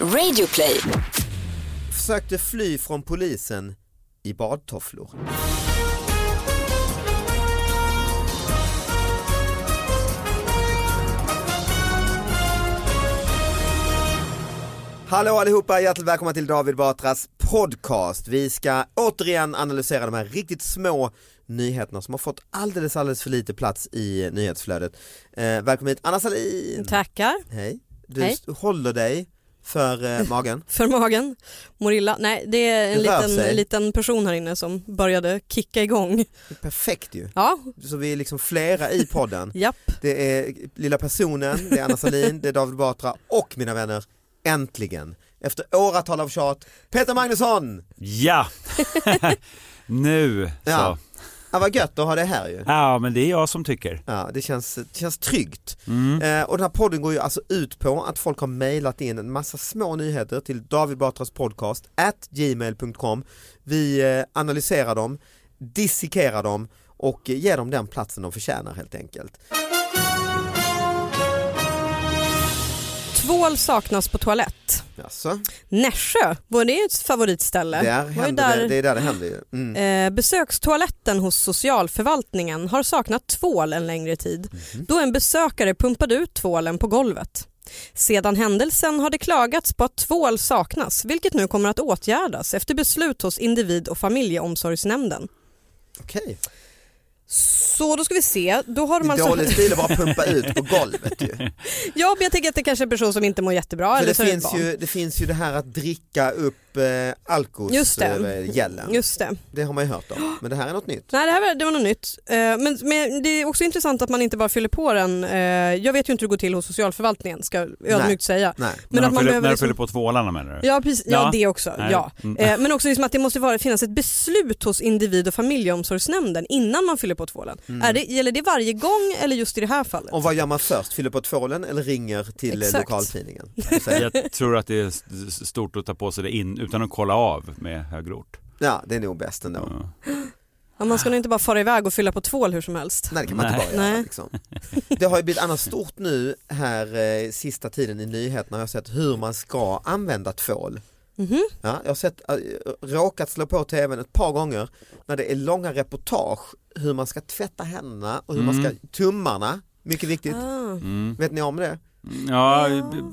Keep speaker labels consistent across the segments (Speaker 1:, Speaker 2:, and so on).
Speaker 1: Radioplay.
Speaker 2: Försökte fly från polisen i badtofflor. Hallå allihopa, hjärtligt välkomna till David Batras podcast. Vi ska återigen analysera de här riktigt små nyheterna som har fått alldeles, alldeles för lite plats i nyhetsflödet. Eh, välkommen hit Anna Salin.
Speaker 3: Tackar
Speaker 2: Hej. Du
Speaker 3: Hej.
Speaker 2: st- håller dig för eh, magen.
Speaker 3: för magen. Morilla, nej det är en
Speaker 2: Det rör
Speaker 3: liten,
Speaker 2: sig.
Speaker 3: en liten person här inne som började kicka igång.
Speaker 2: Perfekt ju.
Speaker 3: Ja,
Speaker 2: Så vi är liksom flera i podden.
Speaker 3: japp.
Speaker 2: Det är lilla personen, det är Anna Salin, det är David Batra och mina vänner, äntligen, efter åratal av tjat, Peter Magnusson!
Speaker 4: Ja, nu
Speaker 2: Ja.
Speaker 4: så.
Speaker 2: Ja, vad gött att ha det här ju.
Speaker 4: Ja, men det är jag som tycker.
Speaker 2: Ja, det, känns, det känns tryggt.
Speaker 4: Mm.
Speaker 2: Eh, och den här podden går ju alltså ut på att folk har mejlat in en massa små nyheter till David Batras podcast at gmail.com. Vi eh, analyserar dem, dissekerar dem och eh, ger dem den platsen de förtjänar helt enkelt.
Speaker 3: Tvål saknas på toalett.
Speaker 2: Alltså,
Speaker 3: Nässjö, var det ett favoritställe?
Speaker 2: där
Speaker 3: var ju
Speaker 2: händer, det-
Speaker 3: där,
Speaker 2: Det är där det händer ju. Mm.
Speaker 3: Eh, besökstoaletten hos socialförvaltningen har saknat tvål en längre tid
Speaker 2: Mhm.
Speaker 3: då en besökare pumpade ut tvålen på golvet. Sedan händelsen har det klagats på att tvål saknas vilket nu kommer att åtgärdas efter beslut hos individ och familjeomsorgsnämnden.
Speaker 2: Okej.
Speaker 3: Så då ska vi se. Då har
Speaker 2: Det är
Speaker 3: de alltså...
Speaker 2: Dålig stil att bara pumpa ut på golvet ju.
Speaker 3: Ja, men jag tänker att det kanske är en person som inte mår jättebra.
Speaker 2: För
Speaker 3: Eller
Speaker 2: det,
Speaker 3: så är det
Speaker 2: finns
Speaker 3: ett barn.
Speaker 2: ju, det finns ju det här att dricka upp eh, alkos
Speaker 3: Just det.
Speaker 2: eh, gällen.
Speaker 3: Just det.
Speaker 2: Det har man ju hört om. Men det här är något nytt.
Speaker 3: Nej, det här var, det var något nytt. Eh, Men, men det är också intressant att man inte bara fyller på den. Eh, Jag vet ju inte hur det går till hos socialförvaltningen, ska jag ödmjukt säga.
Speaker 2: Nej.
Speaker 3: Men
Speaker 4: när
Speaker 3: att
Speaker 4: de
Speaker 3: man
Speaker 4: fyller,
Speaker 3: behöver
Speaker 4: när de
Speaker 3: liksom-
Speaker 4: fyller på tvålarna menar du?
Speaker 3: Ja, precis, ja,
Speaker 4: Ja.
Speaker 3: det också.
Speaker 4: Nej.
Speaker 3: Ja.
Speaker 4: Mm.
Speaker 3: Eh, Men också liksom att det måste vara, finnas ett beslut hos individ och familjeomsorgsnämnden innan man fyller på tvålen.
Speaker 4: Mm.
Speaker 3: Är det, gäller det varje gång eller just i det här fallet?
Speaker 2: Och vad gör man först? Fyller på tvålen eller ringer till eh,
Speaker 3: Exakt.
Speaker 2: lokaltidningen? Och säger-
Speaker 4: Jag tror att det är s- s- stort att ta på sig det in, utan att kolla av med högerort.
Speaker 2: Ja, det är nog bäst ändå.
Speaker 4: Ja.
Speaker 3: Ja, man ska nog inte bara fara iväg och fylla på tvål hur som helst.
Speaker 2: Nej det kan man
Speaker 4: Nej.
Speaker 2: inte bara göra.
Speaker 3: Nej.
Speaker 2: Liksom. Det har ju blivit annars stort nu här eh, sista tiden i nyheterna har jag sett hur man ska använda tvål.
Speaker 3: Mhm.
Speaker 2: Ja, jag har sett, eh, råkat slå på tvn ett par gånger när det är långa reportage hur man ska tvätta händerna och hur man ska, tummarna, mycket viktigt,
Speaker 3: Ah.
Speaker 4: Mm.
Speaker 2: vet ni om det?
Speaker 4: Ja,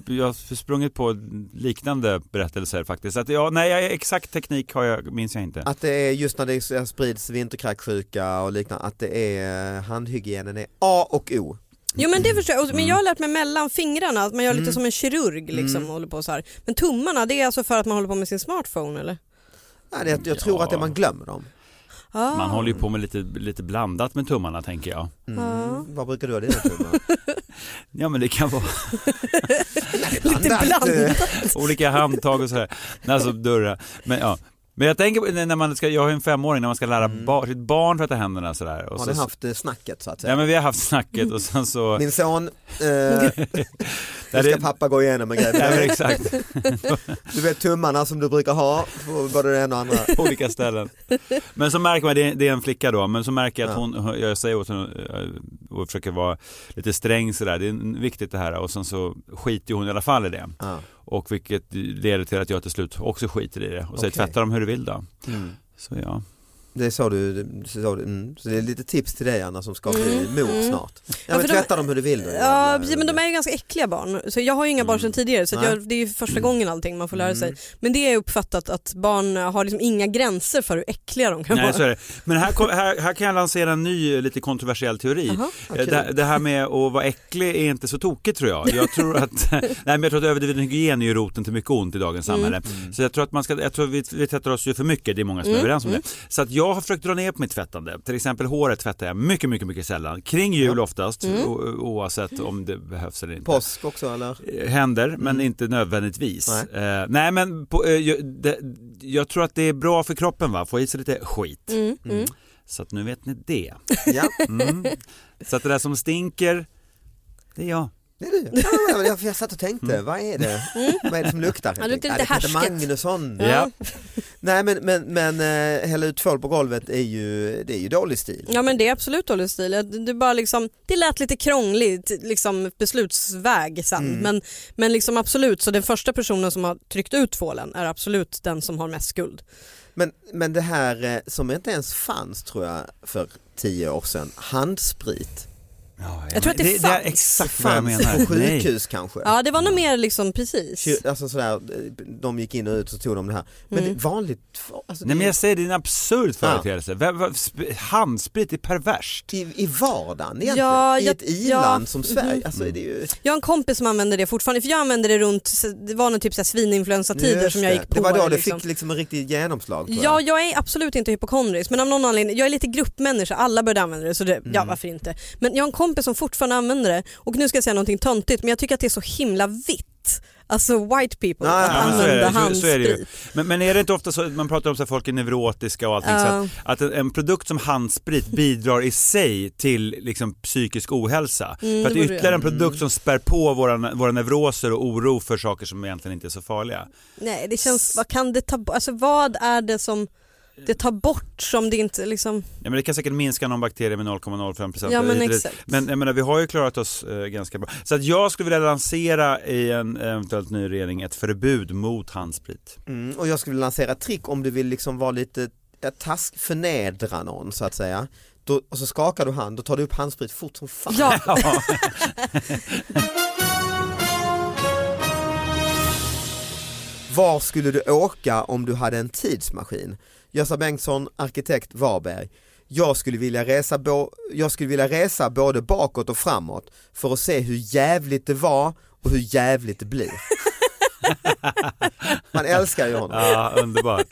Speaker 4: jag har sprungit på liknande berättelser faktiskt. Att, ja, nej, jag- exakt teknik har jag, minns jag inte.
Speaker 2: Att det är just när det är- sprids vinterkräksjuka och liknande, att det är eh, handhygienen är A och O.
Speaker 3: Jo men det
Speaker 4: Mm.
Speaker 3: förstår jag, Och- men jag har lärt mig mellan fingrarna att man gör lite som en kirurg
Speaker 4: Mm.
Speaker 3: liksom och håller på så här. Men tummarna det är alltså för att man håller på med sin smartphone eller?
Speaker 2: Ja, det, jag tror
Speaker 4: Ja.
Speaker 2: att det man glömmer dem.
Speaker 3: Ah.
Speaker 4: Man håller ju på med lite, lite blandat med tummarna tänker jag.
Speaker 2: Mm.
Speaker 3: Ja.
Speaker 2: Vad brukar du ha dina tummar?
Speaker 4: Ja, men det kan vara
Speaker 3: Lite
Speaker 2: eh,
Speaker 3: blandat.
Speaker 4: olika handtag och sådär. Nej, Alltså dörrar. Men, ja. Men jag tänker på när man ska, jag har ju en femåring, när man ska lära bar, sitt barn tvätta händerna sådär.
Speaker 2: Mm.
Speaker 4: Och
Speaker 2: Har
Speaker 4: så,
Speaker 2: ni haft eh, snacket så att säga?
Speaker 4: Ja men vi har haft snacket och sen så...
Speaker 2: Min son, eh, nu
Speaker 4: Nej,
Speaker 2: ska
Speaker 4: det-
Speaker 2: pappa gå igenom en
Speaker 4: Nej, men
Speaker 2: grej.
Speaker 4: exakt,
Speaker 2: Du vet tummarna som du brukar ha på både det ena och andra.
Speaker 4: på olika ställen. Men så märker man, det är, det är en flicka då, men så märker jag att
Speaker 2: Ja.
Speaker 4: hon, jag säger åt henne eh, och försöker vara lite sträng sådär, det är viktigt det här och sen så skiter ju hon i alla fall i det.
Speaker 2: Ja.
Speaker 4: Och vilket leder till att jag till slut också skiter i det och säger
Speaker 2: Okej.
Speaker 4: tvätta dem hur du vill då. Så ja.
Speaker 2: Det är så du, så, du mm. så det är lite tips till dig Anna som ska bli
Speaker 3: Mm,
Speaker 2: mor
Speaker 3: mm.
Speaker 2: snart. Ja,
Speaker 3: Ja,
Speaker 2: men
Speaker 3: för de-
Speaker 2: tvätta dem hur du vill. då,
Speaker 3: Ja,
Speaker 2: jävla-
Speaker 3: precis, men de är ju ganska äckliga barn. Så jag har ju inga
Speaker 4: Mm.
Speaker 3: barn sedan tidigare så att
Speaker 2: Nej.
Speaker 3: jag, det är ju första gången allting man får lära sig.
Speaker 2: Mm.
Speaker 3: Men det är ju uppfattat att barn har liksom inga gränser för hur äckliga de kan
Speaker 4: Nej, så
Speaker 3: vara.
Speaker 4: är det. Men här, kom- här, här kan jag lansera en ny eh, lite kontroversiell teori.
Speaker 3: Jaha,
Speaker 2: vad
Speaker 4: Eh,
Speaker 2: kul.
Speaker 4: det, det här med att vara äcklig är inte så tokigt tror jag. Jag tror att, nej, men jag tror att överdriven hygien är ju roten till mycket ont i dagens samhälle.
Speaker 2: Mm.
Speaker 4: Så jag tror att man ska, jag tror vi, vi tvättar oss ju för mycket, det är många som är överens om det. Så att jag har försökt dra ner på mitt tvättande. Till exempel håret tvättar jag mycket, mycket, mycket sällan. Kring jul oftast, o, oavsett om det behövs eller inte Eh,
Speaker 2: Påsk också eller?
Speaker 4: händer, men inte nödvändigtvis. Nej, eh, nej men på, eh, jag, det, jag tror att det är bra för kroppen va, få i sig lite skit.
Speaker 3: Mm, mm.
Speaker 4: Så att nu vet ni det.
Speaker 2: Ja.
Speaker 4: Mm. Så att det där som stinker, det är jag.
Speaker 2: Det är du. Ja, men jag, jag satt och tänkte,
Speaker 4: Mm.
Speaker 2: vad är det?
Speaker 3: mm.
Speaker 2: Vad är det som luktar?
Speaker 3: Ja, det luktar
Speaker 2: Ja,
Speaker 3: lite
Speaker 2: Peter
Speaker 3: härsket.
Speaker 2: Magnusson.
Speaker 4: Ja.
Speaker 2: Nej men, men, men eh, hälla ut tvål på golvet är ju, det är ju dålig stil.
Speaker 3: Ja men det är absolut dålig stil. Jag- Det, det, bara liksom, det lät lite krångligt liksom beslutsväg sen
Speaker 2: Mm.
Speaker 3: men, men liksom absolut så den första personen som har tryckt ut tvålen är absolut den som har mest skuld.
Speaker 2: Men, men det här eh, som inte ens fanns tror jag för tio år sedan, handsprit.
Speaker 4: Ja,
Speaker 3: Jag tror att det
Speaker 4: det, är
Speaker 3: fanns.
Speaker 4: exakt vad jag
Speaker 2: Fanns
Speaker 4: menar.
Speaker 2: på
Speaker 4: Nej.
Speaker 2: sjukhus kanske.
Speaker 3: Ja det var nog mer liksom precis.
Speaker 2: Kyr- Alltså sådär, eh, de gick in och ut och tog de det här. Men
Speaker 3: Mm.
Speaker 2: det är vanligt, två- alltså,
Speaker 4: Nej
Speaker 2: det
Speaker 4: men
Speaker 2: är
Speaker 4: jag säger det är en absurd företeelse. Vem- vad- sp- Handsprit är perverst.
Speaker 2: i, i vardagen egentligen,
Speaker 3: Ja, mm.
Speaker 2: i
Speaker 3: jag-
Speaker 2: ett i-land
Speaker 3: ja.
Speaker 2: som Sverige. Alltså, det är ju,
Speaker 3: Jag har en kompis som använder det fortfarande för jag använde det runt, det var någon typ så här svininfluensatider
Speaker 2: Just
Speaker 3: som jag
Speaker 2: det.
Speaker 3: gick på.
Speaker 2: Det var då det
Speaker 3: liksom.
Speaker 2: fick liksom en riktigt genomslag tror
Speaker 3: Ja,
Speaker 2: jag.
Speaker 3: jag är absolut inte hypokondrisk men av någon anledning, jag är lite gruppmänniska, alla började använda det så det,
Speaker 4: Mm.
Speaker 3: ja varför inte. Men jag har en kompis som fortfarande använder det och nu ska jag säga någonting töntigt men jag tycker att det är så himla vitt. Alltså white people,
Speaker 2: Ja,
Speaker 3: att
Speaker 2: ja, men så är
Speaker 3: använda
Speaker 4: det, så- så är det ju.
Speaker 3: handsprit.
Speaker 4: Men, men är det inte ofta så att man pratar om att folk är neurotiska och allting så
Speaker 3: Ja.
Speaker 4: att, att en, en produkt som handsprit bidrar i sig till liksom, psykisk ohälsa. för att
Speaker 3: Mm, det
Speaker 4: det är
Speaker 3: borde
Speaker 4: ytterligare en
Speaker 2: jag.
Speaker 4: produkt som spär på våra, våra neuroser och oro för saker som egentligen inte är så farliga.
Speaker 3: Nej det känns, vad kan det ta bort, alltså vad är det som det tar bort som det inte liksom,
Speaker 4: Ja, men det kan säkert minska någon bakterie med 0,05 procent.
Speaker 3: ja men exakt.
Speaker 4: Men jag menar, vi har ju klarat oss eh, ganska bra. Så att jag skulle vilja lansera i en eventuellt ny regering ett förbud mot handsprit.
Speaker 2: Mm, och jag skulle vilja lansera ett trick om du vill liksom vara lite ja, task, förnedra någon så att säga. Då, och så skakar du hand, då tar du upp handsprit fort som fan.
Speaker 3: Ja,
Speaker 2: Var skulle du åka om du hade en tidsmaskin? Gösta Bengtsson, arkitekt Varberg. Jag skulle, vilja resa bo- jag skulle vilja resa både bakåt och framåt för att se hur jävligt det var och hur jävligt det blir. Man älskar ju honom.
Speaker 4: Ja, underbart.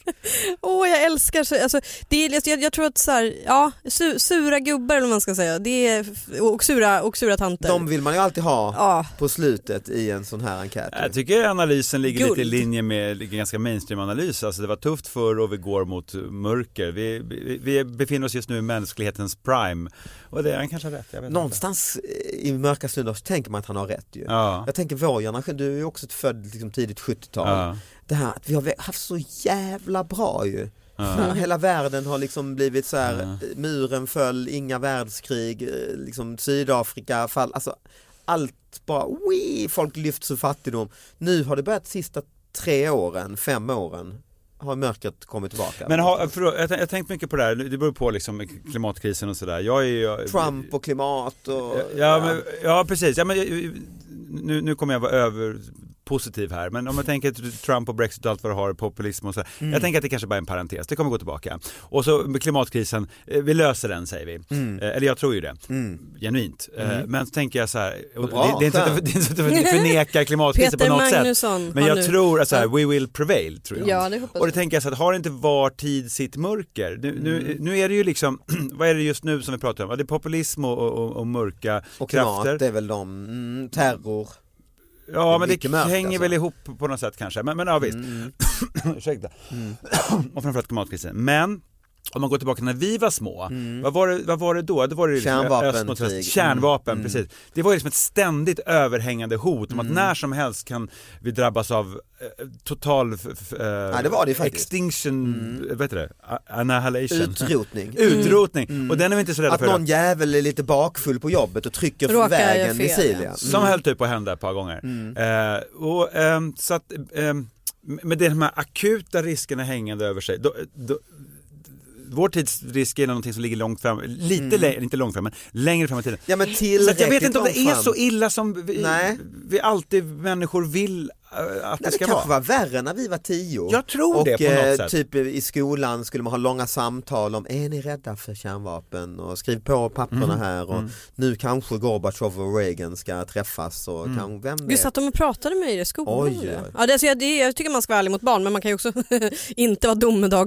Speaker 3: Åh jag älskar så, alltså, det är, jag, jag tror att så här, ja, su, sura gubbar eller vad man ska säga det är, och, sura, och sura tanter.
Speaker 2: De vill man ju alltid ha
Speaker 3: ja.
Speaker 2: på slutet i en sån här enkät.
Speaker 4: Jag tycker analysen ligger
Speaker 3: Guld.
Speaker 4: lite i linje med en ganska mainstream analys. Alltså det var tufft förr och vi går mot mörker. Vi, vi, vi befinner oss just nu i mänsklighetens prime. Och det, han kanske har rätt, jag vet inte.
Speaker 2: Någonstans eh, i mörka stunder så tänker man att han har rätt ju.
Speaker 4: Ja.
Speaker 2: Jag tänker vår generation, du är ju också född liksom tidigt 70-tal.
Speaker 4: Ja.
Speaker 2: Det här att vi har haft så jävla bra ju.
Speaker 4: Ja.
Speaker 2: Hela världen har liksom blivit så här,
Speaker 4: Ja.
Speaker 2: eh, muren föll, inga världskrig, eh, liksom Sydafrika fall, alltså allt bara, wee, folk lyfts ur fattigdom. Nu har det börjat sista tre åren, fem åren, har mörkret kommit tillbaka.
Speaker 4: Men har, förlåt, jag har tänkt mycket på det här, det beror på liksom klimatkrisen och sådär. Jag är ju...
Speaker 2: Trump och klimat och...
Speaker 4: Ja, men, ja precis. Ja, men, eh, nu, nu kommer jag vara överpositiv här, men om jag tänker att Trump och Brexit och allt vad det har, populism och sådär. Jag tänker att det kanske bara är en parentes, det kommer gå tillbaka. Och så med klimatkrisen, eh, vi löser den säger vi.
Speaker 2: Mm.
Speaker 4: Eh, Eller jag tror ju det, genuint. Eh, Men så tänker jag så här, och
Speaker 2: bra,
Speaker 4: det, det är inte så att
Speaker 2: skönt.
Speaker 4: det är inte så att vi förnekar klimatkrisen
Speaker 3: Peter
Speaker 4: på något sätt.
Speaker 3: Magnusson
Speaker 4: Men
Speaker 3: har
Speaker 4: jag
Speaker 3: nu-
Speaker 4: tror att så här, we will prevail, tror jag.
Speaker 3: Ja, det hoppas
Speaker 4: Och det tänker jag så att har inte var tid sitt mörker? Nu, nu, nu är det ju liksom, vad är det just nu som vi pratar om? Ja, det är populism och, och, och mörka
Speaker 2: och klimat,
Speaker 4: krafter.
Speaker 2: det är väl de, mm, terror. det
Speaker 4: ja,
Speaker 2: är
Speaker 4: men det
Speaker 2: mycket mörkt,
Speaker 4: hänger
Speaker 2: alltså.
Speaker 4: väl ihop på något sätt kanske. Men, men ja, visst.
Speaker 2: Mm.
Speaker 4: Ursäkta. och framförallt klimatkrisen. Men om man går tillbaka när vi var små,
Speaker 2: Mm.
Speaker 4: vad, var det, vad var det då? Det var det liksom
Speaker 2: Kärnvapenkrig.
Speaker 4: öst mot
Speaker 2: Mm.
Speaker 4: väst. Kärnvapen,
Speaker 2: Mm.
Speaker 4: precis. Det var ju liksom ett ständigt överhängande hot om att när som helst kan vi drabbas av eh, total f- f- eh,
Speaker 2: det var det ju faktiskt. Mm.
Speaker 4: extinction, vad heter det? A- Annihilation.
Speaker 2: Utrotning.
Speaker 4: Utrotning. Och den är vi inte så
Speaker 2: Mm.
Speaker 4: rädda
Speaker 2: Att
Speaker 4: för. idag.
Speaker 2: någon jävel är lite bakfull på jobbet och trycker
Speaker 3: Råkar
Speaker 2: för
Speaker 3: jag
Speaker 2: vägen
Speaker 3: fel,
Speaker 2: i Mm. Silja.
Speaker 4: Som höll typ på att hända ett par gånger. Eh, och, ehm, så att, ehm, med de här akuta riskerna hängande över sig. Då, då, vår tids risk är någonting som ligger långt fram, lite längre, inte långt fram, men längre fram i tiden.
Speaker 2: Ja men
Speaker 4: Så att
Speaker 2: tillräckligt
Speaker 4: jag vet inte om det är
Speaker 2: långt
Speaker 4: så
Speaker 2: fram.
Speaker 4: illa som vi,
Speaker 2: Nej.
Speaker 4: vi alltid människor vill eh, att det
Speaker 2: Nej, det
Speaker 4: ska
Speaker 2: kanske
Speaker 4: vara.
Speaker 2: var värre när vi var tio.
Speaker 4: Jag tror
Speaker 2: och,
Speaker 4: det på något
Speaker 2: eh,
Speaker 4: sätt.
Speaker 2: typ i skolan skulle man ha långa samtal om, är ni rädda för kärnvapen? Och skriv på papperna
Speaker 4: Mm.
Speaker 2: här och nu kanske Gorbachev och Reagan ska träffas och
Speaker 4: Mm.
Speaker 2: kan, vem vet?
Speaker 3: Vi satt de och pratade med er i skolan.
Speaker 2: Oj,
Speaker 3: eller?
Speaker 2: oj.
Speaker 3: Ja, det, alltså, jag, det, jag tycker man ska vara ärlig mot barn men man kan ju också inte vara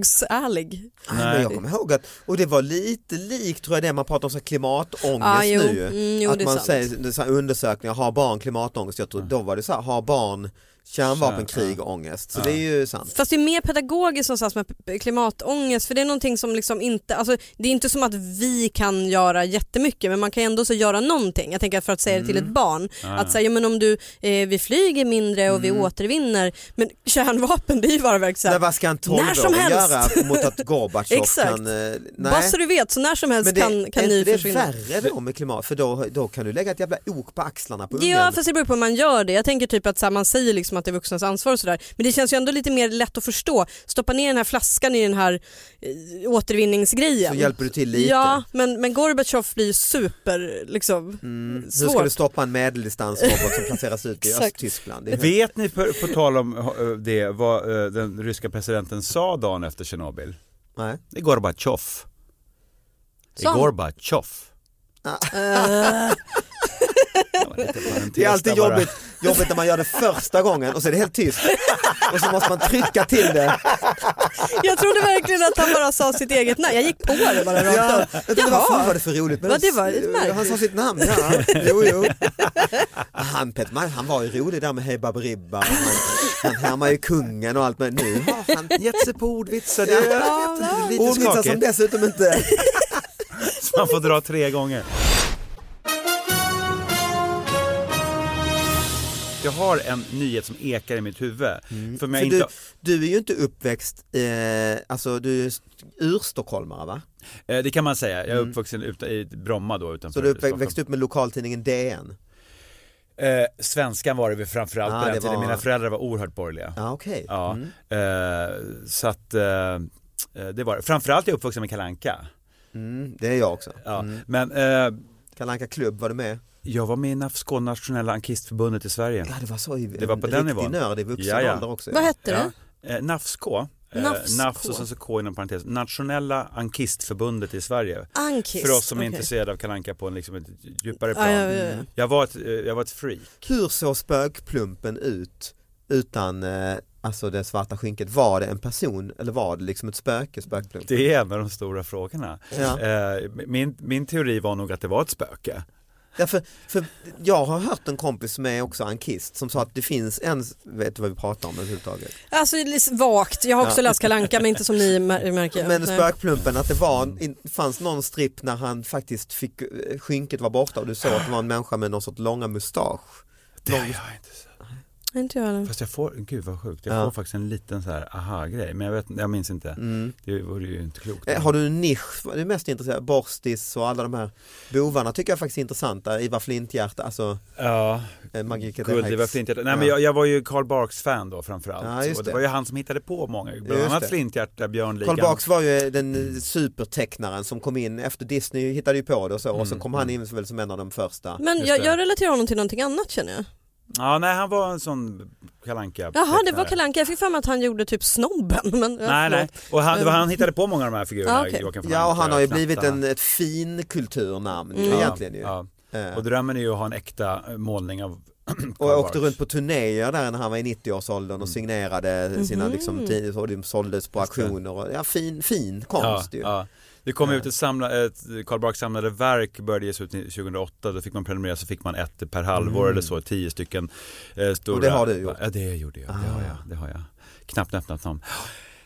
Speaker 3: domedagsärlig.
Speaker 2: Nej, men jag kommer ihåg att, och det var lite likt tror jag det man pratar om så här klimatångest
Speaker 3: Ah, jo.
Speaker 2: nu. ju.
Speaker 3: Mm, jo,
Speaker 2: att
Speaker 3: det är
Speaker 2: man
Speaker 3: sant. Mm.
Speaker 2: säger det är så här undersökningar, har barn klimatångest? Jag tror då var det så här, har barn Kärnvapenkrig och ångest. Så det är ju sant.
Speaker 3: Fast det är mer pedagogiskt någonstans med p- klimatångest för det är någonting som liksom inte, alltså det är inte som att vi kan göra jättemycket men man kan ändå så göra någonting. Jag tänker att för att säga det till
Speaker 4: Mm.
Speaker 3: ett barn,
Speaker 4: Ah.
Speaker 3: att säga ja, men om du, eh, vi flyger mindre och vi
Speaker 4: Mm.
Speaker 3: återvinner men kärnvapen det är ju bara verkligen så
Speaker 2: Nej,
Speaker 3: här,
Speaker 2: vad ska en
Speaker 3: när som
Speaker 2: tolvåring
Speaker 3: helst.
Speaker 2: göra mot att Gorbatjov
Speaker 3: Exakt.
Speaker 2: kan... eh,
Speaker 3: bara så du vet så när som helst
Speaker 2: Men det,
Speaker 3: kan, kan
Speaker 2: är
Speaker 3: ni
Speaker 2: inte det
Speaker 3: försvinna.
Speaker 2: värre då med klimat? För då, då kan du lägga ett jävla ok på axlarna på ungen.
Speaker 3: Ja fast det beror på hur man gör det. Jag tänker typ att så här, man säger liksom att det är vuxnas ansvar och sådär. Men det känns ju ändå lite mer lätt att förstå. Stoppa ner den här flaskan i den här eh, återvinningsgrejen.
Speaker 2: Så hjälper du till lite.
Speaker 3: Ja men, men Gorbatjov blir ju super liksom
Speaker 2: Mm, hur ska
Speaker 3: svårt.
Speaker 2: du stoppa en medeldistansrobot som placeras ut i
Speaker 3: Exakt.
Speaker 2: Östtyskland? Det är helt-
Speaker 4: Vet ni på, på tal om eh, det vad eh, den ryska presidenten sa dagen efter Tjernobyl?
Speaker 2: Nej.
Speaker 4: Det är Gorbatjov. Det är
Speaker 3: Som?
Speaker 4: Gorbatjov.
Speaker 3: Eh,
Speaker 2: Det är alltid jobbigt, jobbigt när man gör det första gången och så är det helt tyst. Och så måste man trycka till det.
Speaker 3: jag trodde verkligen att han bara sa sitt eget namn. Jag gick på det bara rakt
Speaker 2: Ja,
Speaker 3: av.
Speaker 2: jag tänkte,
Speaker 3: Jaha.
Speaker 2: vad fan var det för roligt?
Speaker 3: Ja, det var lite
Speaker 2: han sa
Speaker 3: märkligt.
Speaker 2: sitt namn, ja. Jo, jo. Han, Peter, Mangs, han var ju rolig där med Hej Baberiba. och Han, han härmar ju kungen och allt men nu har han
Speaker 4: Gett sig på ordvitsar. Det är
Speaker 2: Ja,
Speaker 4: lite
Speaker 2: ordvitsar som
Speaker 4: skakigt.
Speaker 2: dessutom inte...
Speaker 4: Så man får dra tre gånger. Jag har en nyhet som ekar i mitt huvud. För om jag
Speaker 2: För
Speaker 4: inte...
Speaker 2: Mm. du, du är ju inte uppväxt, eh, alltså du är urstockholmare va?
Speaker 4: Eh, Det kan man säga. Jag är uppvuxen ut, i Bromma då utanför
Speaker 2: Mm. Så du
Speaker 4: Stockholm.
Speaker 2: uppvä- växte upp med lokaltidningen DN?
Speaker 4: Eh, svenskan var det väl framförallt
Speaker 2: Ah,
Speaker 4: på
Speaker 2: det
Speaker 4: den tiden.
Speaker 2: var-
Speaker 4: Mina föräldrar var oerhört borgerliga.
Speaker 2: Ja okej.
Speaker 4: Ja.
Speaker 2: Mm.
Speaker 4: Eh, så att eh, eh, det var det. Framförallt är jag uppvuxen med Kalanka.
Speaker 2: Mm, det är jag också.
Speaker 4: Ja.
Speaker 2: Mm.
Speaker 4: Men eh,
Speaker 2: Kalle Anka klubb, var du med?
Speaker 4: jag var med i NAF Skåne nationella ankistförbundet i Sverige.
Speaker 2: Ja det var så i
Speaker 4: Det var på
Speaker 2: en
Speaker 4: den
Speaker 2: riktig
Speaker 4: nivån.
Speaker 2: nörd i vuxen
Speaker 4: Ja, ja.
Speaker 2: ålder också.
Speaker 3: Vad hette
Speaker 4: Ja.
Speaker 3: det?
Speaker 4: Eh, NAFSK. eh,
Speaker 3: NAFSK.
Speaker 4: NAFS och sen så K inom parentes. Nationella ankistförbundet i Sverige.
Speaker 3: Ankis.
Speaker 4: För oss som
Speaker 3: Okej.
Speaker 4: är intresserade av Kalanka på en liksom ett djupare plan.
Speaker 3: Ja, ja, ja, ja.
Speaker 4: Jag, var ett, eh, jag var ett freak.
Speaker 2: Hur såg spökplumpen ut utan eh, alltså det svarta skynket? Var det en person eller var det liksom ett spöke, spökplumpen?
Speaker 4: Det är en av de stora frågorna.
Speaker 2: Ja.
Speaker 4: Eh, Min, min teori var nog att det var ett spöke.
Speaker 2: Ja, för, för jag har hört en kompis som är också ankist som sa att det finns en, vet du vad vi pratar om överhuvudtaget?
Speaker 3: Alltså det är lite vagt. Jag har också
Speaker 2: Ja.
Speaker 3: läst Kalle Anka men inte som ni mär- märker.
Speaker 2: Men
Speaker 3: Nej.
Speaker 2: spökplumpen, att det var, in- fanns någon stripp när han faktiskt fick, eh, skynket var borta och du såg att det var en människa med någon sorts långa mustasch.
Speaker 4: Det har jag inte sett.
Speaker 3: Nej, Inte jag heller.
Speaker 4: Fast jag får, gud vad sjukt, jag
Speaker 2: Ja.
Speaker 4: får faktiskt en liten så här aha-grej. Men jag, vet, jag minns inte.
Speaker 2: Mm.
Speaker 4: Det vore ju inte klokt.
Speaker 2: Eh, Har du en nisch, vad är du mest intresserad Borstis och alla de här bovarna tycker jag faktiskt är intressanta, Ivar Flinthjärta, alltså
Speaker 4: Ja,
Speaker 2: eh, Magica the
Speaker 4: guld, det var
Speaker 2: Hex.
Speaker 4: Flinthjärta. Nej
Speaker 2: Ja.
Speaker 4: men jag, jag var ju Carl Barks fan då framförallt.
Speaker 2: Ja, just
Speaker 4: Och det
Speaker 2: det.
Speaker 4: var ju han som hittade på många, bland
Speaker 2: Just
Speaker 4: annat
Speaker 2: det.
Speaker 4: Flinthjärta, Björnligan.
Speaker 2: Carl Barks var ju den eh, supertecknaren som kom in efter Disney hittade ju på det och så och så
Speaker 4: Mm,
Speaker 2: kom han in väl som en av de första.
Speaker 3: Men
Speaker 4: Just
Speaker 3: jag,
Speaker 4: det.
Speaker 3: jag relaterar honom till någonting annat känner jag.
Speaker 4: Ja, nej han var en sån kalanka
Speaker 3: Jaha det var Kalle Anka. Jag fick för mig att han gjorde typ snobben. Men, ja,
Speaker 4: Nej, nej.
Speaker 3: förlåt.
Speaker 4: Och han, det var han hittade på många av de här figurerna.
Speaker 3: Ja, okej.
Speaker 4: Joakim von
Speaker 2: Ja och
Speaker 4: Anka,
Speaker 2: han har ju
Speaker 4: Knattarna.
Speaker 2: blivit en, ett fin kulturnamn ju
Speaker 3: Mm.
Speaker 2: egentligen ju.
Speaker 4: Ja.
Speaker 2: Eh.
Speaker 4: Och drömmen är ju att ha en äkta eh, målning av Carl
Speaker 2: Och jag åkte
Speaker 4: Barks.
Speaker 2: runt på turnéer där när han var i 90-årsåldern och signerade sina liksom, tidningar och de såldes på
Speaker 4: Mm. Just det.
Speaker 2: auktioner. Och, ja, fin, fin konst ju. Eh.
Speaker 4: Ja. Det kom ut ett, samla, ett Karl Barks samlade verk började ges ut 2008. Då fick man prenumerera så fick man ett per halvår eller så, tio stycken eh,
Speaker 2: Mm.
Speaker 4: stora.
Speaker 2: Och det har du gjort? Ah.
Speaker 4: Ja det gjorde jag, det har jag. Det har jag. Knappt öppnat någon.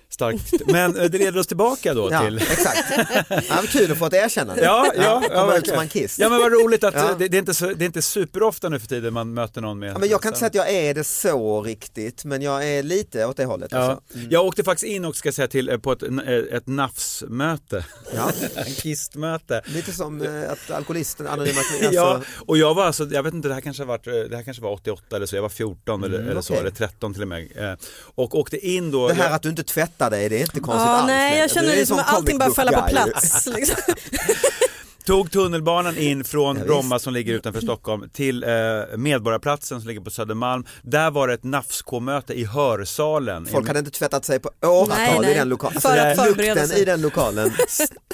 Speaker 4: Starkt. Men eh, det leder oss tillbaka då
Speaker 2: Ja,
Speaker 4: till
Speaker 2: exakt. Ja, men kul att få ett erkännande.
Speaker 4: Ja, ja, ja,
Speaker 2: komma ut som
Speaker 4: verkligen.
Speaker 2: en kiss.
Speaker 4: Ja men vad roligt att
Speaker 2: Ja.
Speaker 4: eh, det, det, är inte så, det är inte superofta nu för tiden man möter någon med
Speaker 2: Ja, men jag kan inte säga att jag är det så riktigt, men jag är lite åt det hållet.
Speaker 4: Ja.
Speaker 2: Alltså. Mm.
Speaker 4: Jag åkte faktiskt in och ska säga till eh, på ett, eh, ett nafsmöte,
Speaker 2: Ja.
Speaker 4: en kistmöte.
Speaker 2: Lite som eh, att alkoholisten, anonyma
Speaker 4: Ja,
Speaker 2: alltså,
Speaker 4: och jag var alltså, jag vet inte, det här kanske var, det här kanske var 88 eller så, jag var 14 eller,
Speaker 2: Mm,
Speaker 4: eller så,
Speaker 2: okej.
Speaker 4: eller 13 till och med. Eh, Och åkte in då.
Speaker 2: Det här
Speaker 4: jag,
Speaker 2: att du inte tvättar dig, det är inte konstigt
Speaker 3: Ja,
Speaker 2: alls.
Speaker 3: nej jag
Speaker 2: längre. Du
Speaker 3: känner
Speaker 2: är en
Speaker 3: liksom
Speaker 2: sån
Speaker 3: att allting
Speaker 2: comic
Speaker 3: bara
Speaker 2: book
Speaker 3: faller på
Speaker 2: guy.
Speaker 3: plats. Liksom.
Speaker 4: Tog tunnelbanan in från
Speaker 2: Ja, visst. Mm.
Speaker 4: Bromma som ligger utanför Stockholm till eh, Medborgarplatsen som ligger på Södermalm. Där var det ett NAFSK-möte i hörsalen.
Speaker 2: Folk
Speaker 4: I-
Speaker 2: hade inte tvättat sig på åratal
Speaker 3: Nej, nej.
Speaker 2: i den lokalen.
Speaker 3: För att
Speaker 2: Alltså,
Speaker 3: förbereda
Speaker 2: lukten
Speaker 3: sig.
Speaker 2: i den lokalen.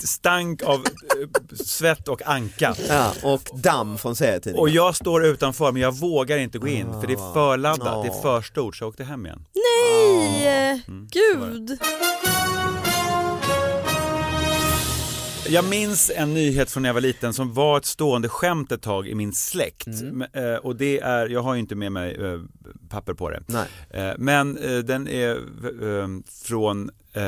Speaker 4: Stank av eh, svett och anka.
Speaker 2: Ja, och damm från serietidningar.
Speaker 4: Och jag står utanför men jag vågar inte gå in för det är för laddat, det är
Speaker 2: Ah.
Speaker 4: för stort så jag åkte hem igen. Mm.
Speaker 3: eh, Nej, gud.
Speaker 4: Jag minns en nyhet från när jag var liten som var ett stående skämt ett tag i min släkt. Men, eh, Och det är, jag har ju inte med mig eh, papper på det.
Speaker 2: Nej.
Speaker 4: Eh, Men eh, den är eh, från, eh,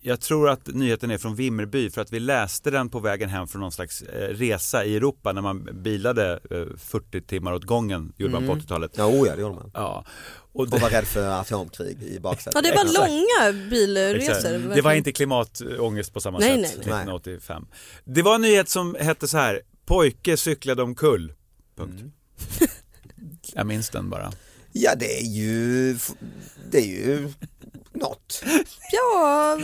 Speaker 4: jag tror att nyheten är från Vimmerby för att vi läste den på vägen hem från någon slags eh, resa i Europa när man bilade eh, 40 timmar åt gången, gjorde man på 80-talet.
Speaker 2: Ja, oh ja, det gjorde man.
Speaker 4: Ja. Och
Speaker 2: Och
Speaker 4: det,
Speaker 2: var rädd för atomkrig i baksätet.
Speaker 3: Ja, det var
Speaker 2: Exakt.
Speaker 3: långa bilresor.
Speaker 4: Exakt. det var
Speaker 3: verkligen.
Speaker 4: inte klimatångest på samma
Speaker 3: Nej,
Speaker 4: sätt
Speaker 3: nej, nej.
Speaker 4: 1985. Det var en nyhet som hette så här, pojke cyklade omkull. Punkt. Jag minns den bara.
Speaker 2: Ja, det är ju, det är ju något.
Speaker 3: Ja,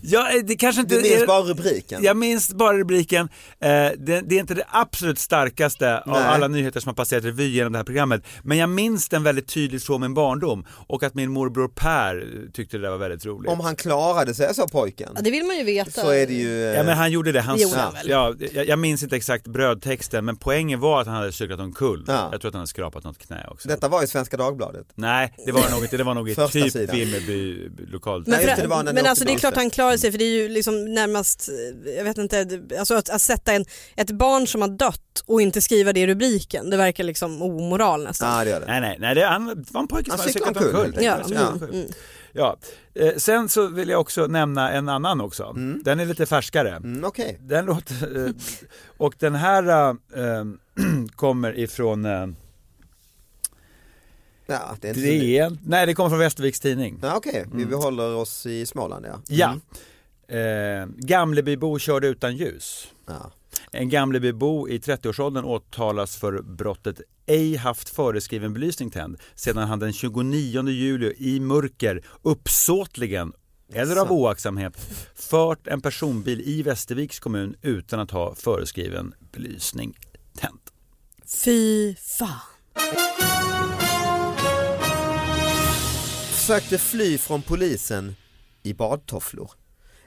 Speaker 4: Ja, eh, det kanske inte
Speaker 2: Du
Speaker 4: är-
Speaker 2: minns bara rubriken.
Speaker 4: Jag minns bara rubriken. Eh, det, det är inte det absolut starkaste av
Speaker 2: Nej.
Speaker 4: alla nyheter som har passerat revy genom det här programmet. Men jag minns den väldigt tydligt från min barndom och att min morbror Per tyckte det där var väldigt roligt.
Speaker 2: Om han klarade sig, sa pojken,
Speaker 3: Ja, det vill man ju veta.
Speaker 2: så är det ju... eh,
Speaker 4: Ja men han gjorde det. Han,
Speaker 3: Det gjorde han väl?
Speaker 4: ja, jag, jag minns inte exakt brödtexten men poängen var att han hade cyklat omkull.
Speaker 2: Ja.
Speaker 4: Jag tror att han hade skrapat något knä också.
Speaker 2: Detta var i Svenska Dagbladet.
Speaker 4: Nej, det var nog inte. Det var nog i
Speaker 2: Första
Speaker 4: typ
Speaker 2: sidan.
Speaker 4: Vimmerby lokalt.
Speaker 2: Nej,
Speaker 3: Men,
Speaker 2: just
Speaker 3: för,
Speaker 2: det, det var när ni
Speaker 3: men
Speaker 2: åkte
Speaker 3: alltså det är
Speaker 2: buss.
Speaker 3: klart han klarar
Speaker 2: Mm.
Speaker 3: sig för det är ju liksom närmast, eh, jag vet inte, det- alltså att, att sätta en, ett barn som har dött och inte skriva det i rubriken, det verkar liksom omoral nästan.
Speaker 2: Ja, det gör det.
Speaker 4: Nej, nej, nej det, han, det var en pojke som
Speaker 2: Han
Speaker 4: hade
Speaker 2: cyklade
Speaker 4: cyklat omkull.
Speaker 2: omkull, helt
Speaker 3: Ja,
Speaker 4: Han cyklade
Speaker 3: mm,
Speaker 4: omkull.
Speaker 3: mm.
Speaker 4: Ja. Eh, sen så vill jag också nämna en annan också. Den är lite färskare.
Speaker 2: Mm, Okej.
Speaker 4: Den låter, eh, och den här eh, kommer ifrån eh,
Speaker 2: Ja, det är inte så nytt.
Speaker 4: DN. Nej, det kommer från Västerviks tidning.
Speaker 2: Ja, Okej, vi behåller oss i Småland ja.
Speaker 4: Ja.
Speaker 2: Mm.
Speaker 4: Eh, Gamlebybo körde utan ljus.
Speaker 2: ja.
Speaker 4: En Gamlebybo i 30-årsåldern åtalas för brottet ej haft föreskriven belysning tänd sedan han den 29 juli i mörker uppsåtligen eller av
Speaker 2: Så.
Speaker 4: oaktsamhet fört en personbil i Västerviks kommun utan att ha föreskriven belysning tänd.
Speaker 3: Fy fan.
Speaker 2: Försökte fly från polisen i badtofflor.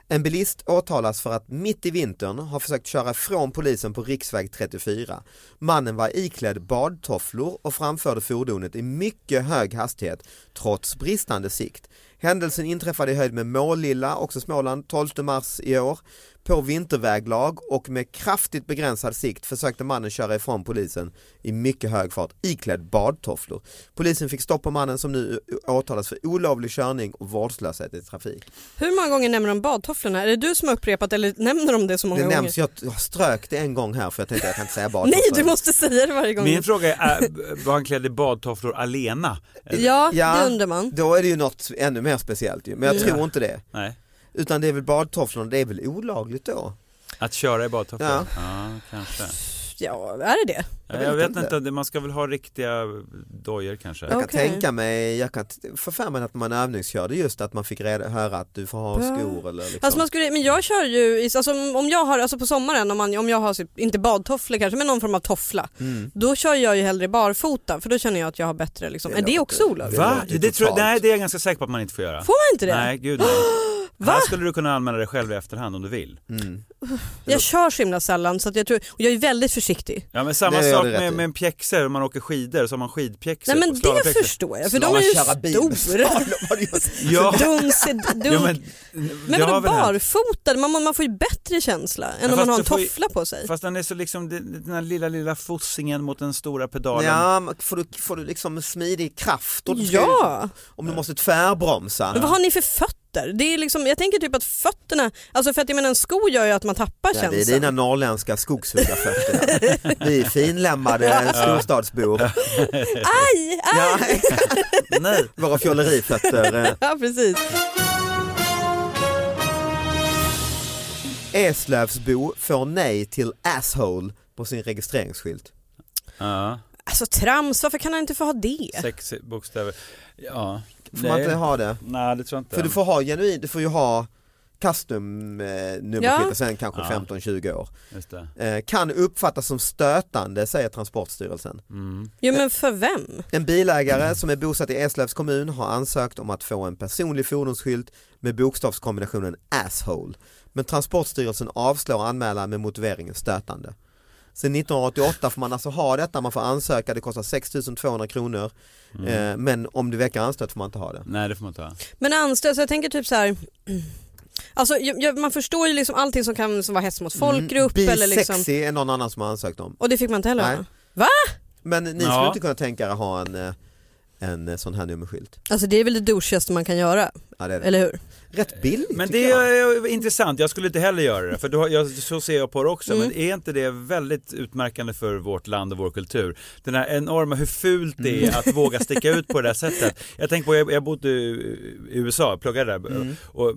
Speaker 2: En bilist åtalas för att mitt i vintern har försökt köra från polisen på riksväg 34. Mannen var iklädd badtofflor och framförde fordonet i mycket hög hastighet trots bristande sikt. Händelsen inträffade i höjd med Målilla, också Småland, 12 mars i år. På vinterväglag och med kraftigt begränsad sikt försökte mannen köra ifrån polisen i mycket hög fart iklädd badtofflor. Polisen fick stopp på mannen som nu åtalas för olovlig körning och vårdslöshet i trafik.
Speaker 3: Hur många gånger nämner de badtofflorna? Är det du som har upprepat eller nämner de det så många
Speaker 2: Det
Speaker 3: gånger?
Speaker 2: nämns, jag jag strök det en gång här för jag tänkte jag kan inte säga badtofflor.
Speaker 3: Nej, du måste säga det varje gång.
Speaker 4: Min fråga är, äh, var han klädd i badtofflor alena?
Speaker 3: Ja,
Speaker 2: Ja.
Speaker 3: det undrar man.
Speaker 2: Då är det ju något ännu mer speciellt ju, men jag tror inte det.
Speaker 4: Nej.
Speaker 2: Utan det är väl badtofflorna, det är väl olagligt då?
Speaker 4: Att köra i badtofflor?
Speaker 2: Ja.
Speaker 4: kanske.
Speaker 3: Ja, är det det?
Speaker 4: Jag
Speaker 2: vet
Speaker 4: vet, jag vet
Speaker 2: inte.
Speaker 4: inte, det- man ska väl ha riktiga dojor kanske?
Speaker 2: Jag kan
Speaker 3: Okej.
Speaker 2: tänka mig, jag kan t- få för mig att man övningskörde just att man fick reda, höra att du får ha
Speaker 3: Ja.
Speaker 2: skor eller liksom.
Speaker 3: Alltså man skulle, men jag kör ju, i- alltså om om jag har, alltså på sommaren om, man, om jag har, typ- inte badtofflor kanske, men någon form av toffla.
Speaker 2: Mm.
Speaker 3: Då kör jag ju hellre barfota för då känner jag att jag har bättre liksom.
Speaker 2: Det
Speaker 3: Är det
Speaker 2: låter-
Speaker 3: också olagligt?
Speaker 2: Det
Speaker 4: Va?
Speaker 2: låter
Speaker 4: Det
Speaker 2: ju
Speaker 4: tror jag,
Speaker 2: totalt.
Speaker 4: nej, det är jag ganska säker på att man inte får göra.
Speaker 3: Får man inte det?
Speaker 4: Nej, gud nej. Här skulle du kunna använda dig själv i efterhand om du vill.
Speaker 2: Mm.
Speaker 3: Jag kör så himla sällan så att jag tror, och jag är väldigt försiktig.
Speaker 4: Ja, men samma
Speaker 2: Det gör
Speaker 4: sak
Speaker 2: du rätt
Speaker 4: med,
Speaker 2: i.
Speaker 4: med en pjäxor, om man åker skidor så har man
Speaker 3: Nej
Speaker 4: skidpjäxor och
Speaker 3: men det
Speaker 4: slalompjäxor.
Speaker 3: förstår jag för
Speaker 2: Slalom,
Speaker 3: de är ju
Speaker 2: köra bil med
Speaker 3: stora.
Speaker 2: slalom var det ju-
Speaker 4: Ja,
Speaker 3: Dum, se- dum.
Speaker 4: ja,
Speaker 3: men
Speaker 4: men, det Mm. har
Speaker 3: vadå
Speaker 4: väl hänt.
Speaker 3: barfotad? Man, man får ju bättre känsla än om
Speaker 4: fast
Speaker 3: man har en
Speaker 4: du får ju-
Speaker 3: toffla på sig.
Speaker 4: Fast den är så liksom, det- den här lilla, lilla fossingen mot den stora pedalen.
Speaker 2: Ja, men får du, får du liksom smidig kraft? Och du ska
Speaker 3: Ja,
Speaker 2: ju- Om du måste tvärbromsa.
Speaker 3: men vad har ni för fötter? Det är liksom, jag tänker typ att fötterna, alltså för att jag menar en sko gör ju att man tappar
Speaker 2: Ja, det är
Speaker 3: känslan.
Speaker 2: dina norrländska skogshuggarfötter. där. Vi är finlämmade storstadsbor.
Speaker 3: Aj, aj!
Speaker 2: Ja,
Speaker 4: Nej.
Speaker 2: våra fjollerifötter. eh.
Speaker 3: Ja precis.
Speaker 2: Eslövsbo får nej till asshole på sin registreringsskylt.
Speaker 4: Ja,
Speaker 3: Alltså trams, varför kan han inte få ha det?
Speaker 4: sex bokstäver. Ja.
Speaker 2: Får man inte ha det?
Speaker 4: Nej, det tror jag inte.
Speaker 2: För du får ha genuin, du får ju ha custom eh, nummerskilt och sen kanske
Speaker 4: Ja.
Speaker 2: 15-20 år.
Speaker 4: Just det.
Speaker 2: Eh, kan uppfattas som stötande säger Transportstyrelsen.
Speaker 4: Mm.
Speaker 3: Jo men för vem?
Speaker 2: En bilägare som är bosatt i Eslövs kommun har ansökt om att få en personlig fordonsskylt med bokstavskombinationen asshole. Men Transportstyrelsen avslår anmälan med motiveringen stötande. Sen 1988 får man alltså ha detta, man får ansöka, det kostar 6 200 kronor. Eh, men om det väcker anstöt får man inte ha det.
Speaker 4: Nej, det mm. får man inte ha.
Speaker 3: alltså Men anställd, så jag tänker typ så här. Alltså, jag, jag, man förstår ju liksom allting som kan som vara hets mot folkgrupp.
Speaker 2: Mm,
Speaker 3: eller liksom,
Speaker 2: Bisexy är någon annan som har ansökt om.
Speaker 3: och det fick man inte heller
Speaker 2: Nej.
Speaker 3: va?
Speaker 2: Men ni
Speaker 4: Ja.
Speaker 2: skulle inte kunna tänka er att ha en, eh, en eh, sån här nummerskylt?
Speaker 3: Alltså det är väl det douchigaste man kan göra,
Speaker 2: Ja, det är det.
Speaker 3: eller hur?
Speaker 2: Rätt billigt
Speaker 4: Men
Speaker 2: tycker
Speaker 4: det
Speaker 2: jag.
Speaker 4: är eh, intressant, jag skulle inte heller göra det, för då, har- jag, så ser jag på det
Speaker 2: Mm.
Speaker 4: också. Men är inte det väldigt utmärkande för vårt land och vår kultur? Den här enorma, hur fult det
Speaker 2: Mm.
Speaker 4: är att våga sticka ut på det där sättet. Jag tänker på, jag, jag bodde i USA, jag pluggade där
Speaker 2: Mm.
Speaker 4: och,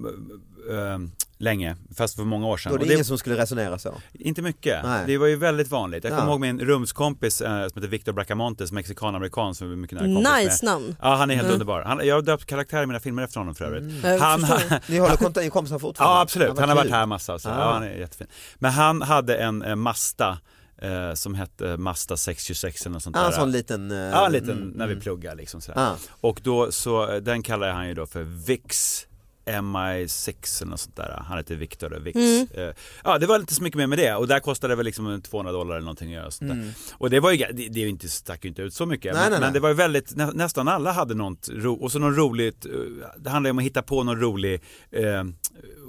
Speaker 4: eh, länge, fast för många år sedan.
Speaker 2: Då är det,
Speaker 4: Och det-
Speaker 2: ingen som skulle resonera så.
Speaker 4: Inte mycket.
Speaker 2: Nej.
Speaker 4: Det var ju väldigt vanligt. Jag
Speaker 2: Ja.
Speaker 4: kommer ihåg min rumskompis eh, som heter Victor Bracamontes, mexikan-amerikan som vi är mycket nära kompis med.
Speaker 3: Nice namn.
Speaker 4: Ja, han är helt
Speaker 3: Mm.
Speaker 4: underbar. Han, jag har döpt karaktärer i mina filmer efter honom för övrigt. Eh,
Speaker 3: Jag
Speaker 4: Han,
Speaker 3: förstår.
Speaker 2: Ni håller kontakt, ni är kompisar fortfarande?
Speaker 4: Ja absolut,
Speaker 2: vad
Speaker 4: han har
Speaker 2: kul.
Speaker 4: varit här massa. Så. Ja,
Speaker 2: Ah.
Speaker 4: han är jättefin. Men han hade en eh, Masta eh, som hette Masta 626 eller något sånt
Speaker 2: Ja, en
Speaker 4: där.
Speaker 2: sån liten... eh,
Speaker 4: ja, en liten
Speaker 2: mm,
Speaker 4: när vi
Speaker 2: mm.
Speaker 4: pluggar liksom sådär.
Speaker 2: Ja.
Speaker 4: Och då så, eh, den kallar han ju då för VIX MI6 eller något sånt där. Han heter Victor då, VIX.
Speaker 3: Mm.
Speaker 4: Eh, Ja, det var inte så mycket mer med det och där kostade det väl liksom 200 dollar eller någonting att göra sånt där. Och det var ju, det, det är ju inte, stack ju inte ut så mycket.
Speaker 2: Nej,
Speaker 4: men,
Speaker 2: nej, nej.
Speaker 4: men det var ju väldigt, nä, nästan alla hade något ro, och så något roligt, eh, det handlar ju om att hitta på någon rolig eh,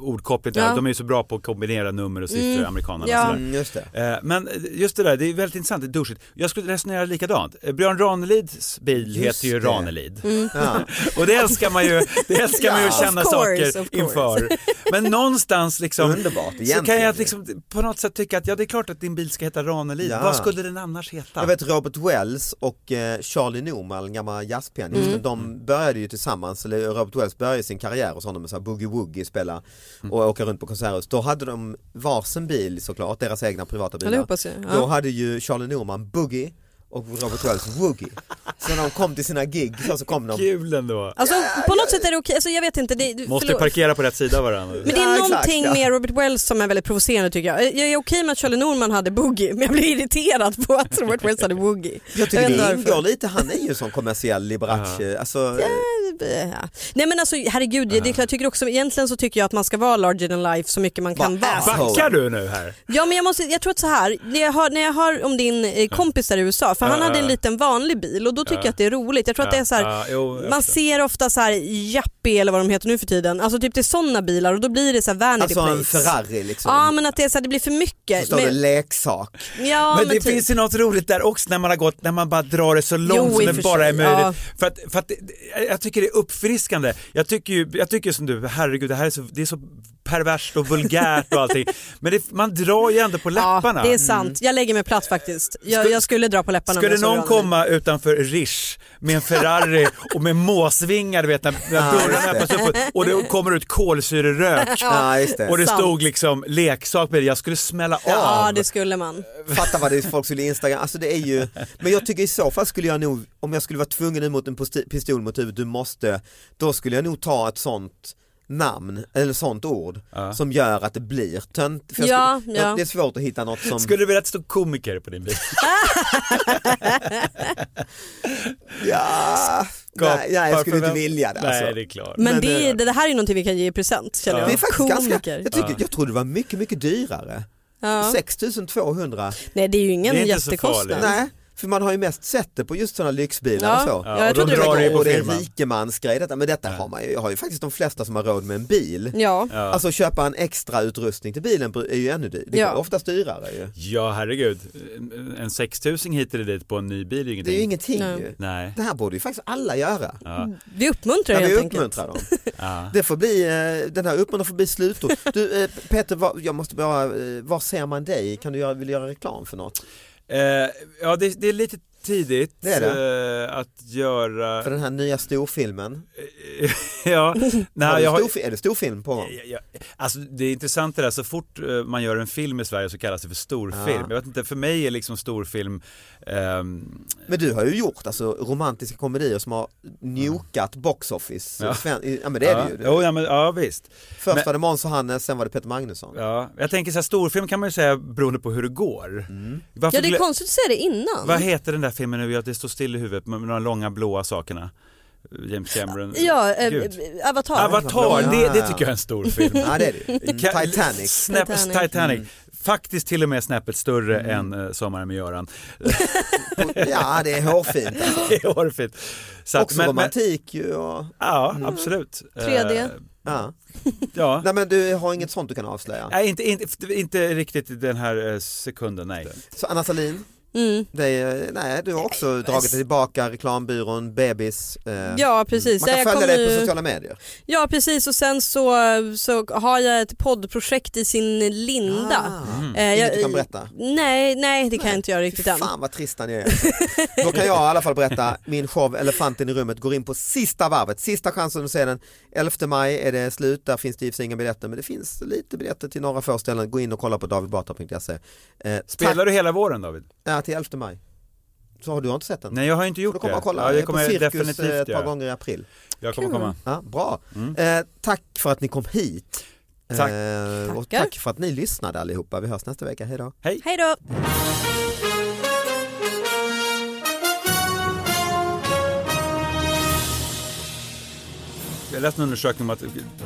Speaker 4: ordkoppling där.
Speaker 3: Ja.
Speaker 4: De är ju så bra på att kombinera nummer och siffror,
Speaker 3: Mm.
Speaker 4: amerikanerna.
Speaker 3: Ja.
Speaker 4: Ja.
Speaker 2: Mm, just det.
Speaker 4: Eh, Men just det där, det är väldigt intressant, det är douchigt. Jag skulle resonera likadant. Eh, Björn Ranelids bil
Speaker 2: Just
Speaker 4: heter ju
Speaker 2: det.
Speaker 4: Ranelid.
Speaker 3: Mm.
Speaker 2: Ja.
Speaker 4: Och det älskar man ju, det älskar man ju att
Speaker 2: Ja.
Speaker 4: känna
Speaker 3: Of course, of
Speaker 4: saker
Speaker 3: course.
Speaker 4: inför. Men någonstans liksom
Speaker 2: Underbart
Speaker 4: så
Speaker 2: egentligen.
Speaker 4: kan jag liksom på något sätt tycka att ja det är klart att din bil ska heta Ranelid.
Speaker 2: Ja.
Speaker 4: Vad skulle den annars heta?
Speaker 2: Jag vet Robert Wells och eh, Charlie Norman, gammal jazzpianisten,
Speaker 4: Mm.
Speaker 2: de började ju tillsammans, eller Robert Wells började sin karriär hos honom med så här boogie-woogie spela
Speaker 4: Mm.
Speaker 2: och åka runt på konserthus. Då hade de varsin bil såklart, deras egna privata
Speaker 3: Ja, det
Speaker 2: bilar.
Speaker 3: hoppas jag.
Speaker 2: Då
Speaker 3: Ja.
Speaker 2: hade ju Charlie Norman boogie och Robert Wells woogie. Så när de kom till sina gig så, så kom de
Speaker 4: Kul ändå.
Speaker 3: Alltså på något sätt är det okej, alltså, jag vet inte. Det,
Speaker 4: Måste
Speaker 3: förlåt.
Speaker 4: parkera på rätt sida av varandra.
Speaker 3: Men det är
Speaker 2: Ja, exakt,
Speaker 3: någonting
Speaker 2: ja.
Speaker 3: med Robert Wells som är väldigt provocerande tycker jag. Jag är okej med att Charlie Norman hade boogie men jag blir irriterad på att Robert Wells hade boogie.
Speaker 2: Jag tycker
Speaker 3: Jag vet
Speaker 2: det
Speaker 3: inte
Speaker 2: ingår
Speaker 3: varför.
Speaker 2: lite, han är ju som kommersiell Liberace. Alltså,
Speaker 3: Ja. Nej men alltså herregud, jag, det, jag tycker också, egentligen så tycker jag att man ska vara larger than life så mycket man kan
Speaker 2: Vad
Speaker 3: vara.
Speaker 2: är-
Speaker 4: Backar du nu här?
Speaker 3: Ja men jag, måste, jag tror att så här, när jag, hör, när jag hör om din eh, kompis där i USA, för han
Speaker 4: Ja,
Speaker 3: hade
Speaker 4: ja,
Speaker 3: en
Speaker 4: ja.
Speaker 3: liten vanlig bil och då tycker
Speaker 4: Ja.
Speaker 3: jag att det är roligt. Jag tror att det är så här,
Speaker 4: Ja, jo, jag
Speaker 3: Man
Speaker 4: förstår.
Speaker 3: ser ofta så här Jappi eller vad de heter nu för tiden, alltså typ till sådana bilar och då blir det så här vanity
Speaker 2: alltså en
Speaker 3: plates.
Speaker 2: Ferrari liksom.
Speaker 3: Ja men att det, är så här, det blir för
Speaker 2: så
Speaker 3: mycket.
Speaker 2: står det
Speaker 3: Men,
Speaker 2: leksak.
Speaker 3: ja,
Speaker 4: men det
Speaker 3: typ.
Speaker 4: finns ju något roligt där också när man har gått, när man bara drar det så långt
Speaker 3: Jo, i
Speaker 4: som
Speaker 3: och för
Speaker 4: det bara
Speaker 3: sig,
Speaker 4: är möjligt.
Speaker 3: ja.
Speaker 4: För att, för att det- det- jag tycker det är uppfriskande. Jag tycker ju, jag tycker som du, herregud det här är så, det är så perverst och vulgärt och allting. Men det, man drar ju ändå på läpparna.
Speaker 3: Ja, det är sant. Jag lägger mig platt faktiskt. Jag,
Speaker 4: Skulle-
Speaker 3: jag skulle dra på läpparna. om
Speaker 4: Skulle
Speaker 3: jag såg
Speaker 4: någon
Speaker 3: Ronny.
Speaker 4: komma utanför Rish med en Ferrari och med måsvingar, du vet när,
Speaker 2: Ja,
Speaker 4: när
Speaker 2: just
Speaker 4: dörrarna
Speaker 2: det.
Speaker 4: öppnas upp och- och det kommer ut kolsyrerök
Speaker 2: Ja, just
Speaker 4: och
Speaker 2: det.
Speaker 4: det
Speaker 3: sant.
Speaker 4: stod liksom leksak med det, jag skulle smälla
Speaker 3: Ja,
Speaker 4: av.
Speaker 3: det skulle man.
Speaker 2: Fatta vad det är folk skulle instagram, alltså det är ju, men jag tycker i så fall skulle jag nog, om jag skulle vara tvungen ut mot en posti- pistol mot huvudet, du måste, då skulle jag nog ta ett sånt namn, eller sånt ord, som gör att det blir tönt. För jag
Speaker 3: Ja,
Speaker 2: skulle,
Speaker 3: ja.
Speaker 2: Det är svårt att hitta något som,
Speaker 4: Skulle det bli rätt stor komiker på din bil?
Speaker 2: ja, nej, nej jag skulle inte vilja det alltså.
Speaker 4: Nej, det är klart.
Speaker 3: Men,
Speaker 2: Men
Speaker 3: det,
Speaker 2: det-
Speaker 3: det, det här är ju någonting vi kan ge i present känner jag.
Speaker 2: Det är faktiskt ganska,
Speaker 3: Komiker.
Speaker 2: jag, tycker, jag trodde det var mycket, mycket dyrare.
Speaker 3: Ja.
Speaker 2: 6200.
Speaker 3: Nej det är ju
Speaker 4: Det är
Speaker 3: ingen
Speaker 4: inte så
Speaker 3: jättekostnad.
Speaker 4: farligt.
Speaker 2: Nej, för man har ju mest sett det på just sådana lyxbilar
Speaker 3: Ja.
Speaker 2: och så.
Speaker 3: Ja, jag
Speaker 4: och de
Speaker 3: trodde det
Speaker 4: drar
Speaker 3: var
Speaker 4: ju
Speaker 3: gott.
Speaker 4: på
Speaker 2: Och det är en
Speaker 4: firman.
Speaker 2: rikemansgrej detta, men detta har man ju, jag har ju faktiskt de flesta som har råd med en bil.
Speaker 3: Ja.
Speaker 4: Ja.
Speaker 2: Alltså köpa en extra utrustning till bilen är ju ännu dyrare, det är
Speaker 3: Ja.
Speaker 2: oftast dyrare ju.
Speaker 4: Ja, herregud. En- En 6000 hit eller dit på en ny bil är ju
Speaker 2: Det
Speaker 4: ingenting.
Speaker 2: är ju ingenting
Speaker 3: Nej.
Speaker 2: ju.
Speaker 4: Nej.
Speaker 2: Det här borde ju faktiskt alla göra.
Speaker 4: Ja.
Speaker 3: Vi uppmuntrar
Speaker 2: Ja, vi
Speaker 3: helt enkelt.
Speaker 2: uppmuntrar dem.
Speaker 4: Ja.
Speaker 2: Det får bli, eh, den här uppmuntran får bli slutord. Du eh, Peter, var, jag måste bara, eh, var ser man dig? Kan du göra, vill du göra reklam för något?
Speaker 4: Eh, ja, det, det är lite tidigt
Speaker 2: Det är
Speaker 4: Eh, att göra...
Speaker 2: För den här nya storfilmen?
Speaker 4: ja,
Speaker 2: har
Speaker 4: nej,
Speaker 2: du
Speaker 4: jag har...
Speaker 2: storfi- Är det storfilm på gång?
Speaker 4: Ja, ja. Alltså, det är intressant det där, så fort eh, man gör en film i Sverige så kallas det för storfilm.
Speaker 2: Ja.
Speaker 4: Jag vet inte, för mig är liksom storfilm ehm,
Speaker 2: Men du har ju gjort alltså romantiska komedier som har njokat box office.
Speaker 4: Ja.
Speaker 2: Sven- Ja men det är
Speaker 4: ja.
Speaker 2: det ju.
Speaker 4: Jo, ja, men, ja, visst.
Speaker 2: Först var det Måns och Hannes, sen var det Peter Magnusson.
Speaker 4: Ja. Jag tänker så här, storfilm kan man ju säga beroende på hur det går.
Speaker 2: Mm.
Speaker 4: Varför
Speaker 3: Ja det är
Speaker 4: glö-
Speaker 3: konstigt att säga det innan.
Speaker 4: Vad heter den där filmen nu? Jag- Det står still i huvudet med med de långa blåa sakerna. James Cameron.
Speaker 3: Ja, eh,
Speaker 4: Gud. Ah,
Speaker 3: Avatar.
Speaker 4: Avatar,
Speaker 2: Ja,
Speaker 4: det,
Speaker 2: ja, ja.
Speaker 4: det tycker jag är en stor film.
Speaker 2: Ja det är det ju. Mm,
Speaker 4: Ka-
Speaker 2: Titanic. Mm.
Speaker 4: Snäpp,
Speaker 3: Titanic.
Speaker 4: Titanic. Faktiskt till och med snäppet större än eh, Sommaren med Göran.
Speaker 2: Mm. Ja det är hårfint.
Speaker 4: Det är orfigt. Så att-
Speaker 2: Också romantik ju. Och...
Speaker 4: ja, absolut.
Speaker 3: 3D.
Speaker 4: Eh,
Speaker 2: Ja.
Speaker 4: Ja.
Speaker 2: Nej men du har inget sånt du kan avslöja.
Speaker 4: Nej, inte, inte, inte riktigt i den här eh, sekunden, nej.
Speaker 2: Så Anna Salin,
Speaker 3: Mm.
Speaker 2: det är, nej, du har också dragit dig tillbaka, reklambyrån, bebis. Eh,
Speaker 3: Ja precis.
Speaker 2: Man kan
Speaker 3: jag
Speaker 2: följa
Speaker 3: kom
Speaker 2: dig
Speaker 3: ju-
Speaker 2: på sociala medier.
Speaker 3: Ja precis och sen så, så har jag ett poddprojekt i sin linda.
Speaker 2: Ah,
Speaker 4: Mm.
Speaker 3: Eh,
Speaker 2: Inget
Speaker 3: jag-
Speaker 2: du kan berätta.
Speaker 3: Nej, nej det kan jag inte göra riktigt än.
Speaker 2: Fan vad trista ni är. alltså. Då kan jag i alla fall berätta, min show Elefanten i rummet går in på sista varvet, sista chansen att se den. 11 maj är det slut, där finns det i och för sig inga biljetter men det finns lite biljetter till några få ställen. Gå in och kolla på davidbatra.se. Eh,
Speaker 4: Spelar
Speaker 2: tack-
Speaker 4: du hela våren David?
Speaker 2: Ja, till 11 maj. Så har du inte sett den?
Speaker 4: Nej, jag har inte
Speaker 2: Får
Speaker 4: gjort
Speaker 2: du komma
Speaker 4: det.
Speaker 2: och kolla.
Speaker 4: Ja,
Speaker 2: jag
Speaker 4: det
Speaker 2: är
Speaker 4: kommer
Speaker 2: på
Speaker 4: jag
Speaker 2: cirkus eh,
Speaker 4: definitivt
Speaker 2: ett par
Speaker 4: göra.
Speaker 2: gånger i april.
Speaker 4: Jag kommer
Speaker 3: Kul.
Speaker 4: komma.
Speaker 2: Ja, bra.
Speaker 4: Mm.
Speaker 2: Eh, tack för att ni kom hit.
Speaker 4: Tack.
Speaker 2: Eh, och
Speaker 3: Tackar.
Speaker 2: tack för att ni lyssnade allihopa. Vi hörs nästa vecka, hej då.
Speaker 3: Hej då!
Speaker 4: Jag läste en undersökning om att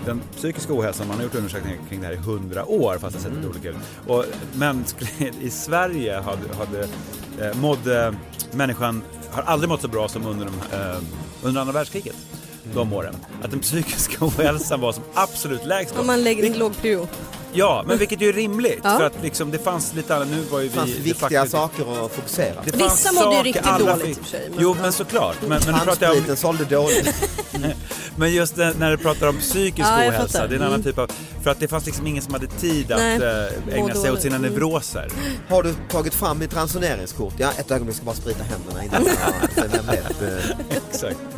Speaker 4: den psykiska ohälsan, man har gjort undersökningar kring det här i hundra år fast det har sett
Speaker 2: Mm.
Speaker 4: lite olika ut. Och mänsklighet i Sverige hade, hade eh, mådde, människan har aldrig mått så bra som under, de, eh, under andra världskriget.
Speaker 2: Mm.
Speaker 4: De åren. Att den psykiska ohälsan var som absolut lägst då.
Speaker 3: Om man lägger en låg prio.
Speaker 4: Ja, men vilket ju är rimligt.
Speaker 3: Ja.
Speaker 4: För att liksom, det fanns lite annat. Nu var ju
Speaker 2: Det fanns
Speaker 4: vi... de
Speaker 2: viktiga
Speaker 4: facto-
Speaker 2: saker att fokusera.
Speaker 4: Det
Speaker 3: Vissa
Speaker 4: fanns
Speaker 3: mådde ju
Speaker 4: saker
Speaker 3: riktigt
Speaker 4: alla
Speaker 3: dåligt i
Speaker 4: fick-
Speaker 3: och för sig, men-
Speaker 4: Jo, men såklart. Men, men nu pratar jag om
Speaker 2: Handspriten sålde dåligt.
Speaker 4: Men just när, när du pratar om psykisk
Speaker 3: Ja, jag
Speaker 4: ohälsa,
Speaker 3: fattar. Mm.
Speaker 4: det är en annan typ av... För att det fanns liksom ingen som hade tid att
Speaker 3: Nej,
Speaker 4: eh,
Speaker 3: må
Speaker 4: ägna sig åt
Speaker 3: dåligt.
Speaker 4: sina
Speaker 3: Mm.
Speaker 4: neuroser.
Speaker 2: Har du tagit fram ditt ransoneringskort? Ja, ett ögonblick ska bara sprita händerna innan jag säger vem det är.
Speaker 4: Exakt.